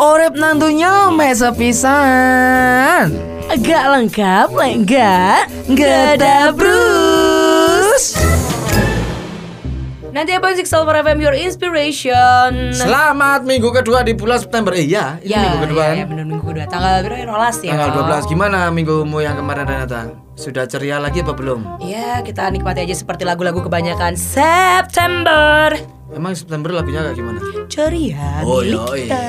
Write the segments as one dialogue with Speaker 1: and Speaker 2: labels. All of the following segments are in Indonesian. Speaker 1: Orep nantunya mesa pisan.
Speaker 2: Gak lengkap, lek gak
Speaker 1: Gada Bruce.
Speaker 2: Nanti apa sih Silver FM Your Inspiration?
Speaker 1: Selamat minggu kedua di bulan September. Eh, iya, ini minggu kedua.
Speaker 2: Nah. ya, ya, bener minggu kedua. Tanggal berapa? ya? Rolas ya.
Speaker 1: Tanggal 12 gimana minggumu yang kemarin Renata? Sudah ceria lagi apa belum?
Speaker 2: Ya, kita nikmati aja seperti lagu-lagu kebanyakan September.
Speaker 1: Emang September lagunya kayak gimana?
Speaker 2: Ceria
Speaker 1: Oh iya.
Speaker 2: milik
Speaker 1: yoi.
Speaker 2: kita.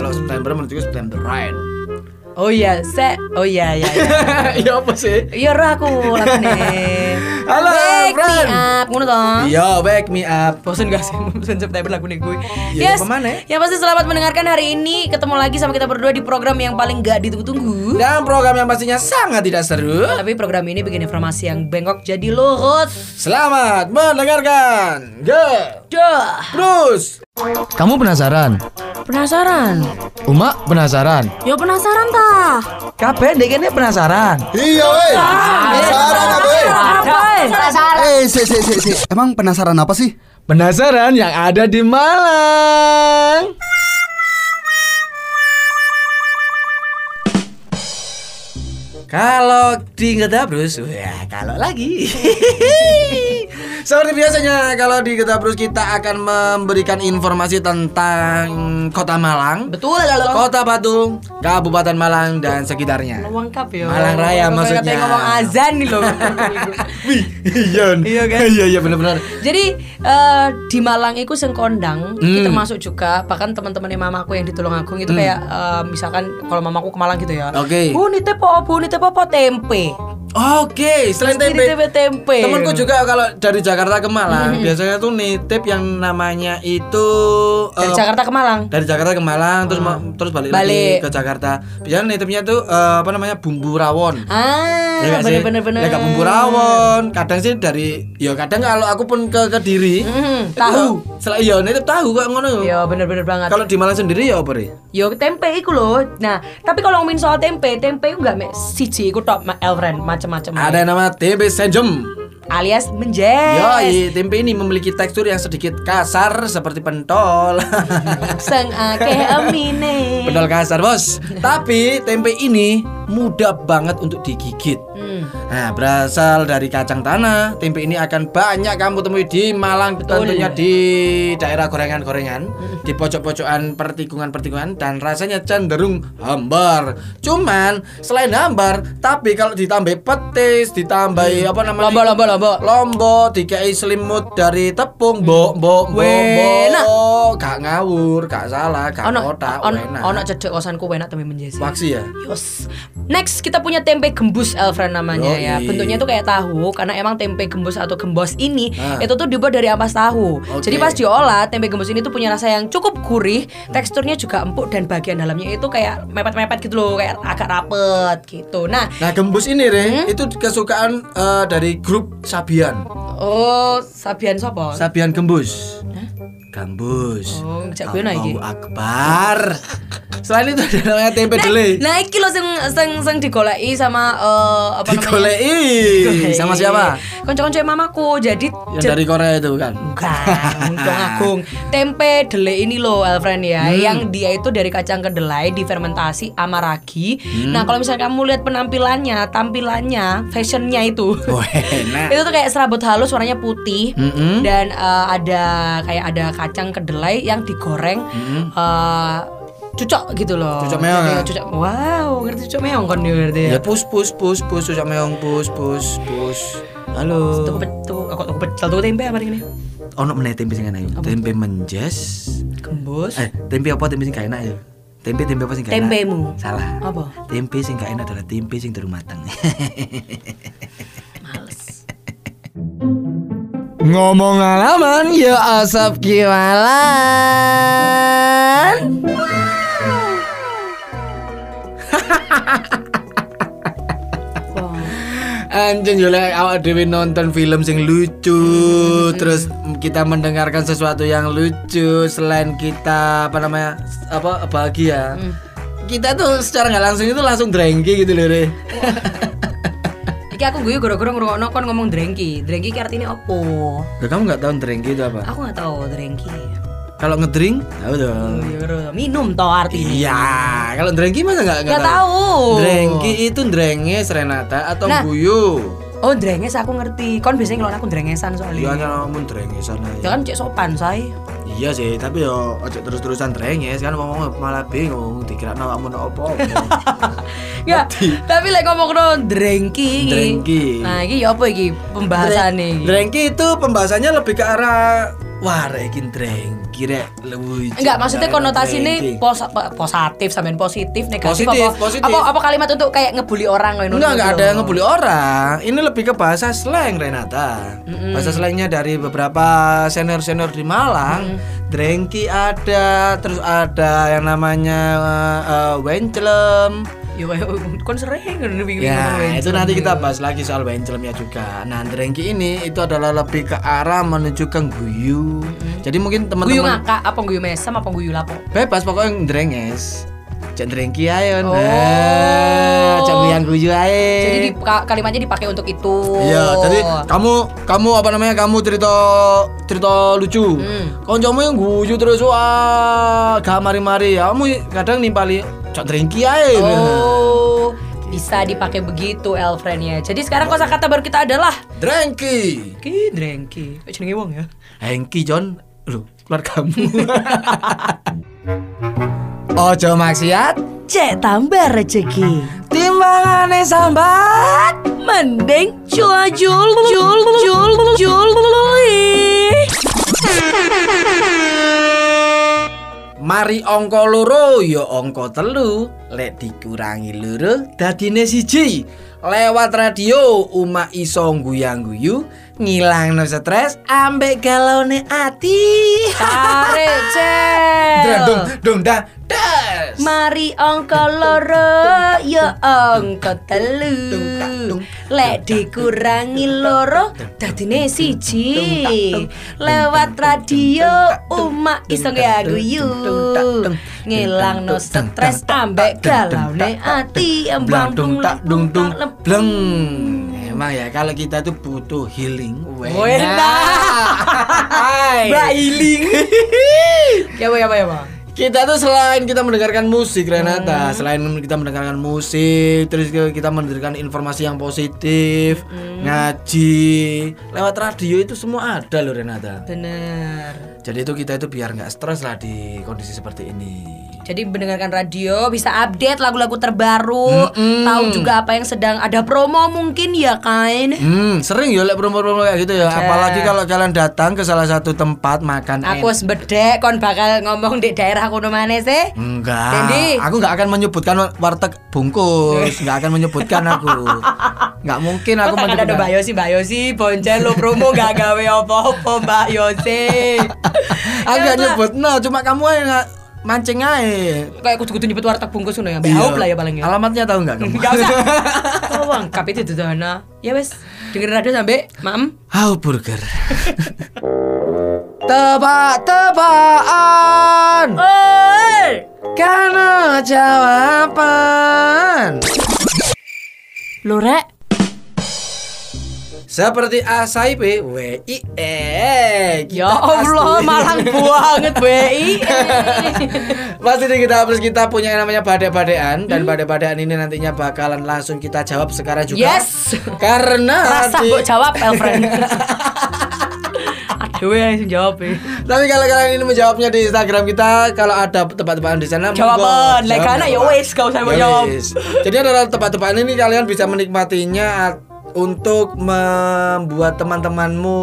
Speaker 1: Kalau September menurutku September Ryan.
Speaker 2: Oh iya, se Oh iya iya. iya.
Speaker 1: Iya apa sih?
Speaker 2: Iya ora aku lagune.
Speaker 1: Halo,
Speaker 2: Wake me
Speaker 1: Fran.
Speaker 2: up, ngono toh.
Speaker 1: Yo, back me up.
Speaker 2: Bosen gak sih bosen September lagu nih gue
Speaker 1: Ya,
Speaker 2: Yes,
Speaker 1: apa mana?
Speaker 2: ya pasti selamat mendengarkan hari ini Ketemu lagi sama kita berdua di program yang paling gak ditunggu-tunggu
Speaker 1: Dan program yang pastinya sangat tidak seru.
Speaker 2: Tapi program ini bikin informasi yang bengkok jadi lurut
Speaker 1: Selamat mendengarkan. Ge.
Speaker 2: Duh
Speaker 1: Terus. Kamu penasaran?
Speaker 2: Penasaran?
Speaker 1: Uma penasaran.
Speaker 2: Ya penasaran tah
Speaker 3: Kabeh ndek kene penasaran.
Speaker 4: Iya weh. Penasaran apa weh? Eh, si, si, si, si. Emang penasaran apa sih?
Speaker 3: Penasaran yang ada di Malang.
Speaker 1: Kalau di Getabrus, ya kalau lagi. Seperti biasanya kalau di Getabrus kita akan memberikan informasi tentang Kota Malang,
Speaker 2: Betul kalau
Speaker 1: Kota Batu, Kabupaten Malang dan sekitarnya.
Speaker 2: lengkap ya
Speaker 1: Malang Raya
Speaker 2: Kok
Speaker 1: maksudnya.
Speaker 2: katanya ngomong azan nih loh
Speaker 1: Wih, iya.
Speaker 2: Iya kan?
Speaker 1: Iya iya benar-benar.
Speaker 2: Jadi eh, di Malang itu sengkondang
Speaker 1: Hmm.
Speaker 2: kita masuk juga bahkan teman-temannya mamaku yang di Tulungagung itu kayak eh, misalkan kalau mamaku ke Malang gitu ya.
Speaker 1: Oke.
Speaker 2: Bu nite po, bu nite po, po tempe.
Speaker 1: Oke, selain
Speaker 2: Pasti
Speaker 1: tempe,
Speaker 2: nitip tempe.
Speaker 1: Temanku juga kalau dari Jakarta ke
Speaker 2: Mm-hmm.
Speaker 1: Malang biasanya tuh nitip yang namanya itu
Speaker 2: Dari
Speaker 1: eh,
Speaker 2: Jakarta ke Malang.
Speaker 1: dari Jakarta ke Malang terus ma- terus balik,
Speaker 2: Balik.
Speaker 1: lagi ke Jakarta. Biasanya nitipnya tuh eh, apa namanya bumbu rawon.
Speaker 2: Ah,
Speaker 1: nggak sih?
Speaker 2: bener-bener bener.
Speaker 1: Ya nggak bumbu rawon. Kadang sih dari ya kadang kalau aku pun ke Kediri
Speaker 2: Mm,
Speaker 1: itu
Speaker 2: tahu.
Speaker 1: Sel- ya nitip tahu kok ngono.
Speaker 2: Ya bener-bener banget.
Speaker 1: Kalau di Malang sendiri ya apa Ri?
Speaker 2: Yo tempe iku loh. Nah, tapi kalau ngomongin soal tempe, tempe itu enggak mek siji iku tok mek Elfriend macem-macem.
Speaker 1: Ada yang nama tempe senjem.
Speaker 2: alias menjes.
Speaker 1: Yoi, tempe ini memiliki tekstur yang sedikit kasar seperti pentol.
Speaker 2: Seng akeh emine.
Speaker 1: Pedal kasar bos Tapi tempe ini mudah banget untuk digigit
Speaker 2: Hmm.
Speaker 1: Nah berasal dari kacang tanah Tempe ini akan banyak kamu temui di Malang Tentunya di daerah gorengan-gorengan Di pojok-pojokan pertikungan-pertikungan Dan rasanya cenderung hambar Cuman selain hambar Tapi kalau ditambah petis Ditambah
Speaker 2: Hmm.
Speaker 1: apa namanya
Speaker 2: Lomba, lomba, lomba.
Speaker 1: Lombok dikei selimut dari tepung mbok mbok mbok
Speaker 2: Weh, enak.
Speaker 1: mbok gak ngawur gak salah gak
Speaker 2: ono
Speaker 1: kotak nah.
Speaker 2: ono
Speaker 1: enak.
Speaker 2: ono cedek kosanku enak temen menjesi
Speaker 1: waksi ya
Speaker 2: Yos. Next kita punya tempe gembus Elfriend namanya
Speaker 1: Yoi.
Speaker 2: ya. Bentuknya tuh kayak tahu karena emang tempe gembus atau gembos ini
Speaker 1: Ah.
Speaker 2: itu tuh dibuat dari ampas tahu.
Speaker 1: Oke.
Speaker 2: Jadi pas diolah tempe gembus ini tuh punya rasa yang cukup gurih, teksturnya juga empuk dan bagian dalamnya itu kayak mepet-mepet gitu loh, kayak agak rapet gitu. Nah,
Speaker 1: nah gembus ini re
Speaker 2: Hmm?
Speaker 1: itu kesukaan eh, dari grup Sabian
Speaker 2: oh Sabian sopo?
Speaker 1: Sabian gembus gembus
Speaker 2: Oh, ngejak gue nah iki.
Speaker 1: Allahu akbar selain itu ada namanya tempe dele
Speaker 2: Nah, iki loh sing sing sing digoleki sama eh, apa namanya?
Speaker 1: digolei sama siapa
Speaker 2: Konco-konco mamaku. Jadi
Speaker 1: yang
Speaker 2: jadi-
Speaker 1: dari Korea itu kan
Speaker 2: Bukan, untung agung. Tempe delay ini loh, Elfriend ya,
Speaker 1: Hmm.
Speaker 2: yang dia itu dari kacang kedelai difermentasi sama ragi.
Speaker 1: Hmm.
Speaker 2: Nah, kalau misalnya kamu lihat penampilannya, tampilannya, fashionnya itu.
Speaker 1: Wah, enak
Speaker 2: Itu tuh kayak serabut halus warnanya putih
Speaker 1: Mm-mm.
Speaker 2: dan eh, ada kayak ada kacang kedelai yang digoreng eh, cucok gitu loh.
Speaker 1: Cucok meong
Speaker 2: Jadi
Speaker 1: ya?
Speaker 2: Cucok. Wow, ngerti cucok meong kan dia ngerti ya.
Speaker 1: ya pus pus pus pus pus meong pus pus pus halo
Speaker 2: Tuh, tuh, aku aku pecel tuh tempe hari ini.
Speaker 1: ono meneh tempe sing enak ya. Tempe menjes.
Speaker 2: Gembus.
Speaker 1: Eh, tempe apa tempe sing gak enak ya? Tempe tempe apa sing gak enak?
Speaker 2: Tempemu.
Speaker 1: Salah.
Speaker 2: Apa?
Speaker 1: Tempe sing gak enak adalah tempe sing durung mateng.
Speaker 2: Males.
Speaker 3: Ngomong alaman ya asap kiwalan.
Speaker 2: Wah.
Speaker 1: Anjing yo lek awak dhewe nonton film sing lucu, terus kita mendengarkan sesuatu yang lucu selain kita apa namanya? apa bahagia. Kita tuh secara nggak langsung itu langsung drengki gitu loh, Re.
Speaker 2: Iki aku gue gara-gara ngrungokno kon ngomong drengki. Drengki ki artinya opo?
Speaker 1: Loh, kamu nggak tahu drengki itu apa?
Speaker 2: Aku nggak tahu drengki.
Speaker 1: Kalau ngedrink, tahu dong.
Speaker 2: Minum toh artinya.
Speaker 1: Iya, kalau drengki masa nggak
Speaker 2: Nggak tahu.
Speaker 1: Drengki itu drenges Renata atau
Speaker 2: Nah.
Speaker 1: guyu.
Speaker 2: Oh, drenges aku ngerti. Kon biasanya ngelok aku drengesan
Speaker 1: Iya
Speaker 2: soalnya.
Speaker 1: kan ngomong drengesan
Speaker 2: Ya
Speaker 1: aja.
Speaker 2: kan cek sopan, say.
Speaker 1: Iya sih, tapi yo ojo terus-terusan drenges kan ngomong malah bingung dikira awakmu no opo.
Speaker 2: Iya. Ya, tapi lek ngomong no drengki iki.
Speaker 1: Drengki.
Speaker 2: Nah, iki ya apa iki pembahasannya iki?
Speaker 1: Drengki itu pembahasannya lebih ke arah wah rek iki drengki rek lucu.
Speaker 2: Enggak, maksudnya
Speaker 1: Rek,
Speaker 2: konotasi ini
Speaker 1: drengki.
Speaker 2: pos, po- positif sampean positif negatif
Speaker 1: Positif,
Speaker 2: apa,
Speaker 1: positif.
Speaker 2: apa apa kalimat untuk kayak ngebully orang ngono.
Speaker 1: Enggak, enggak ada yang ngebully orang. Ini lebih ke bahasa slang Renata. Bahasa slangnya dari beberapa senior-senior di Malang. Drengki ada, terus ada yang namanya eh, eh, wencelem.
Speaker 2: Ya kon sering ngono bingung.
Speaker 1: Ya, itu nanti kita bahas lagi soal wencelemnya juga. Nah, drengki ini itu adalah lebih ke arah menuju ke guyu. Jadi mungkin
Speaker 2: guyu
Speaker 1: teman-teman
Speaker 2: ngakak apa guyu mesem apa guyu lapo.
Speaker 1: bebas pokoknya ndrenges. Cek drengki ayo.
Speaker 2: Oh.
Speaker 1: Nah, cek biang guyu ayo.
Speaker 2: Jadi di, ka- kalimatnya dipakai untuk itu.
Speaker 1: Iya, jadi kamu kamu apa namanya? Kamu cerita cerita lucu.
Speaker 2: Hmm.
Speaker 1: Koncomu yang guyu terus wah, gak mari-mari. Kamu kadang nimpali cok drengki ae.
Speaker 2: Oh, bisa dipakai begitu Elfriend ya. Jadi sekarang kosakata baru kita adalah
Speaker 1: Drengki.
Speaker 2: ki drengki. Eh, Jenenge wong ya.
Speaker 1: Hengki John, lu keluar kamu. Ojo maksiat,
Speaker 2: Cek tambah rezeki.
Speaker 1: timbangane sambat.
Speaker 2: Mending cua jul jul jul jul
Speaker 1: Mari angka loro ya angka telu, lek dikurangi loro dadine siji. Lewat radio umak iso guyang-guyu, ngilangno stres ambek galaune ati.
Speaker 2: Tarik
Speaker 1: Dung
Speaker 2: cel.
Speaker 1: dung dang das.
Speaker 2: Mari angka loro ya angka telu. Lek dikurangi loro dadine siji. Lewat radio umak iso ya guyu. Ngilangno stres ambek galaune ati embang
Speaker 1: Blang dung tak dung dung
Speaker 2: tak lep-
Speaker 1: bleng. Emang ya kalau kita tuh butuh healing.
Speaker 2: Wena.
Speaker 1: Hai.
Speaker 2: Mbak Iling. Ya apa ya apa ya apa.
Speaker 1: Kita tuh selain kita mendengarkan musik
Speaker 2: Hmm.
Speaker 1: Renata, selain kita mendengarkan musik, terus ke- kita mendengarkan informasi yang positif,
Speaker 2: Hmm.
Speaker 1: ngaji, lewat radio itu semua ada loh Renata.
Speaker 2: Bener.
Speaker 1: Jadi itu kita itu biar nggak stres lah di kondisi seperti ini.
Speaker 2: Jadi mendengarkan radio bisa update lagu-lagu terbaru, tahu juga apa yang sedang ada promo mungkin ya kan.
Speaker 1: Hmm, sering ya lek promo-promo kayak gitu ya.
Speaker 2: Ada.
Speaker 1: Apalagi kalau kalian datang ke salah satu tempat makan
Speaker 2: Aku
Speaker 1: enak.
Speaker 2: sebedek kon bakal ngomong di daerah aku mana sih?
Speaker 1: Enggak.
Speaker 2: Dendi.
Speaker 1: Aku nggak akan menyebutkan warteg bungkus, nggak akan menyebutkan aku. Nggak mungkin
Speaker 2: Aku
Speaker 1: aku
Speaker 2: tak ada Mbak
Speaker 1: menyebutkan.
Speaker 2: Yosi, Mbak Yosi, boncel lo promo gak gawe apa-apa Mbak Yosi.
Speaker 1: Aku nggak
Speaker 2: Ya,
Speaker 1: nyebut, no, cuma kamu aja nggak mancing aja.
Speaker 2: Kayak kudu-kudu nyebut warteg bungkus ngono ya, Mbak
Speaker 1: Iya.
Speaker 2: Aup lah ya paling ya.
Speaker 1: Alamatnya tahu nggak kamu?
Speaker 2: Gak usah. Oh, lengkap itu dana. Ya wes, dengerin radio sampai maem.
Speaker 1: How burger. Tebak-tebakan
Speaker 2: Oi!
Speaker 1: karena jawaban.
Speaker 2: Lo rek,
Speaker 1: Seperti A C P W I E.
Speaker 2: Ya Allah, malang banget BI.
Speaker 1: Pasti nih kita harus kita punya yang namanya badai-badean
Speaker 2: Hmm?
Speaker 1: dan badai-badean ini nantinya bakalan langsung kita jawab sekarang juga.
Speaker 2: Yes.
Speaker 1: Karena
Speaker 2: Rasa
Speaker 1: di-
Speaker 2: mbok jawab Elfriend. Aduh, ya sing jawab ya.
Speaker 1: Tapi kalau kalian ini menjawabnya di Instagram kita, kalau ada tebak-tebakan di sana,
Speaker 2: Jawaban,
Speaker 1: monggo.
Speaker 2: lek
Speaker 1: Jawab,
Speaker 2: anak ya
Speaker 1: jawab.
Speaker 2: wes gak usah mbok
Speaker 1: Ya
Speaker 2: jawab.
Speaker 1: wis. Jadi adalah tebak-tebakan ini kalian bisa menikmatinya at- untuk membuat teman-temanmu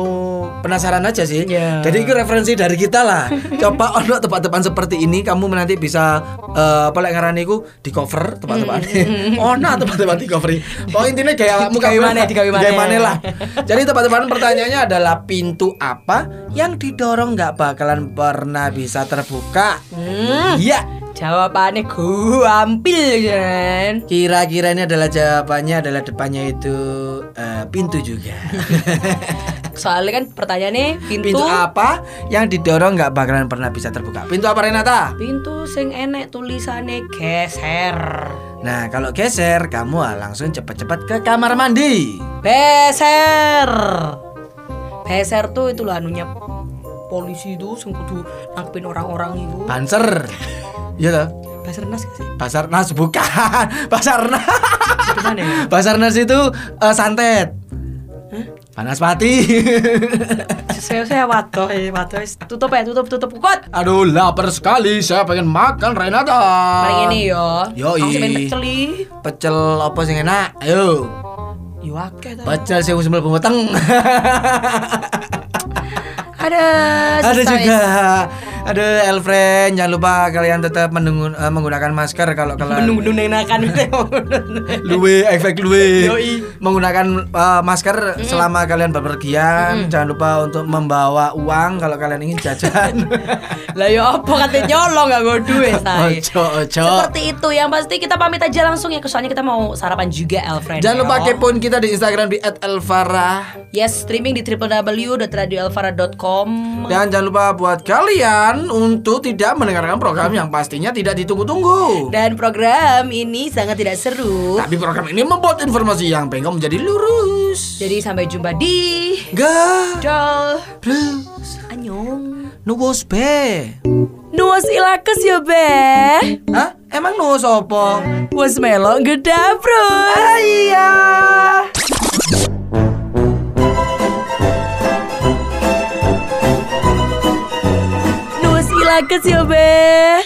Speaker 1: penasaran aja sih.
Speaker 2: Iya.
Speaker 1: Jadi itu referensi dari kita lah. Coba ono tebak-tebakan seperti ini kamu nanti bisa eh, apa lek ngarani iku di cover tebak-tebakan.
Speaker 2: Hmm.
Speaker 1: ono tebak-tebakan di cover. Oh intinya kayak kamu
Speaker 2: Digawe maneh, digawe maneh.
Speaker 1: lah. Jadi tebak-tebakan pertanyaannya adalah pintu apa yang didorong nggak bakalan pernah bisa terbuka.
Speaker 2: Hmm,
Speaker 1: Iya.
Speaker 2: jawabannya gua ambil kan.
Speaker 1: Kira-kira ini adalah jawabannya adalah depannya itu eh, pintu juga.
Speaker 2: Soalnya kan pertanyaannya pintu
Speaker 1: pintu apa yang didorong nggak bakalan pernah bisa terbuka? Pintu apa Renata?
Speaker 2: pintu sing enek tulisannya geser.
Speaker 1: Nah kalau geser kamu ah, langsung cepat-cepat ke kamar mandi.
Speaker 2: Beser. Beser tuh itu loh anunya
Speaker 5: polisi itu sing kudu nangkepin orang-orang itu.
Speaker 1: Banser. Iya toh?
Speaker 5: Basarnas gak sih?
Speaker 1: Basarnas bukan. Basarnas.
Speaker 5: Gimana ya?
Speaker 1: Basarnas itu eh, santet. Panaspati.
Speaker 5: Saya saya wato, wato tutup ya, tutup tutup kukut.
Speaker 1: Aduh, lapar sekali. Saya pengen makan Renata.
Speaker 5: Mari ini yo.
Speaker 1: Yoi.
Speaker 5: Aku sampe peceli.
Speaker 1: Pecel apa sing enak? Ayo.
Speaker 5: Yo akeh ta.
Speaker 1: Pecel sing sambal boteng.
Speaker 5: Ada
Speaker 1: ada
Speaker 5: sesuai.
Speaker 1: juga ada Elfriend jangan lupa kalian tetap menunggu- eh, menggunakan masker kalau kalian
Speaker 5: menunggu nenakan
Speaker 1: luwe efek luwe
Speaker 5: Yoi.
Speaker 1: menggunakan eh, masker selama kalian bepergian jangan lupa untuk membawa uang kalau kalian ingin jajan
Speaker 5: Lah ya apa katanya nyolong gak gue duit say.
Speaker 1: ojo ojo
Speaker 5: Seperti itu yang pasti kita pamit aja langsung ya soalnya kita mau sarapan juga Elfriend.
Speaker 1: jangan lupa
Speaker 5: yo.
Speaker 1: kepoin kita di Instagram di @elfarah
Speaker 5: Yes, streaming di www.radioelvara.com.
Speaker 1: dan jangan lupa buat kalian untuk tidak mendengarkan program yang pastinya tidak ditunggu-tunggu
Speaker 5: Dan program ini sangat tidak seru.
Speaker 1: tapi program ini membuat informasi yang pengen menjadi lurus
Speaker 5: Jadi sampai jumpa di
Speaker 1: Gak
Speaker 5: Dol
Speaker 1: Plus
Speaker 5: Anyong.
Speaker 1: Nukus be
Speaker 5: Nuwas ilakes ya be.
Speaker 1: Hah? Emang nukus apa?
Speaker 5: Was melok gedabrus.
Speaker 1: Iya
Speaker 5: Nuwas ilakes ya be.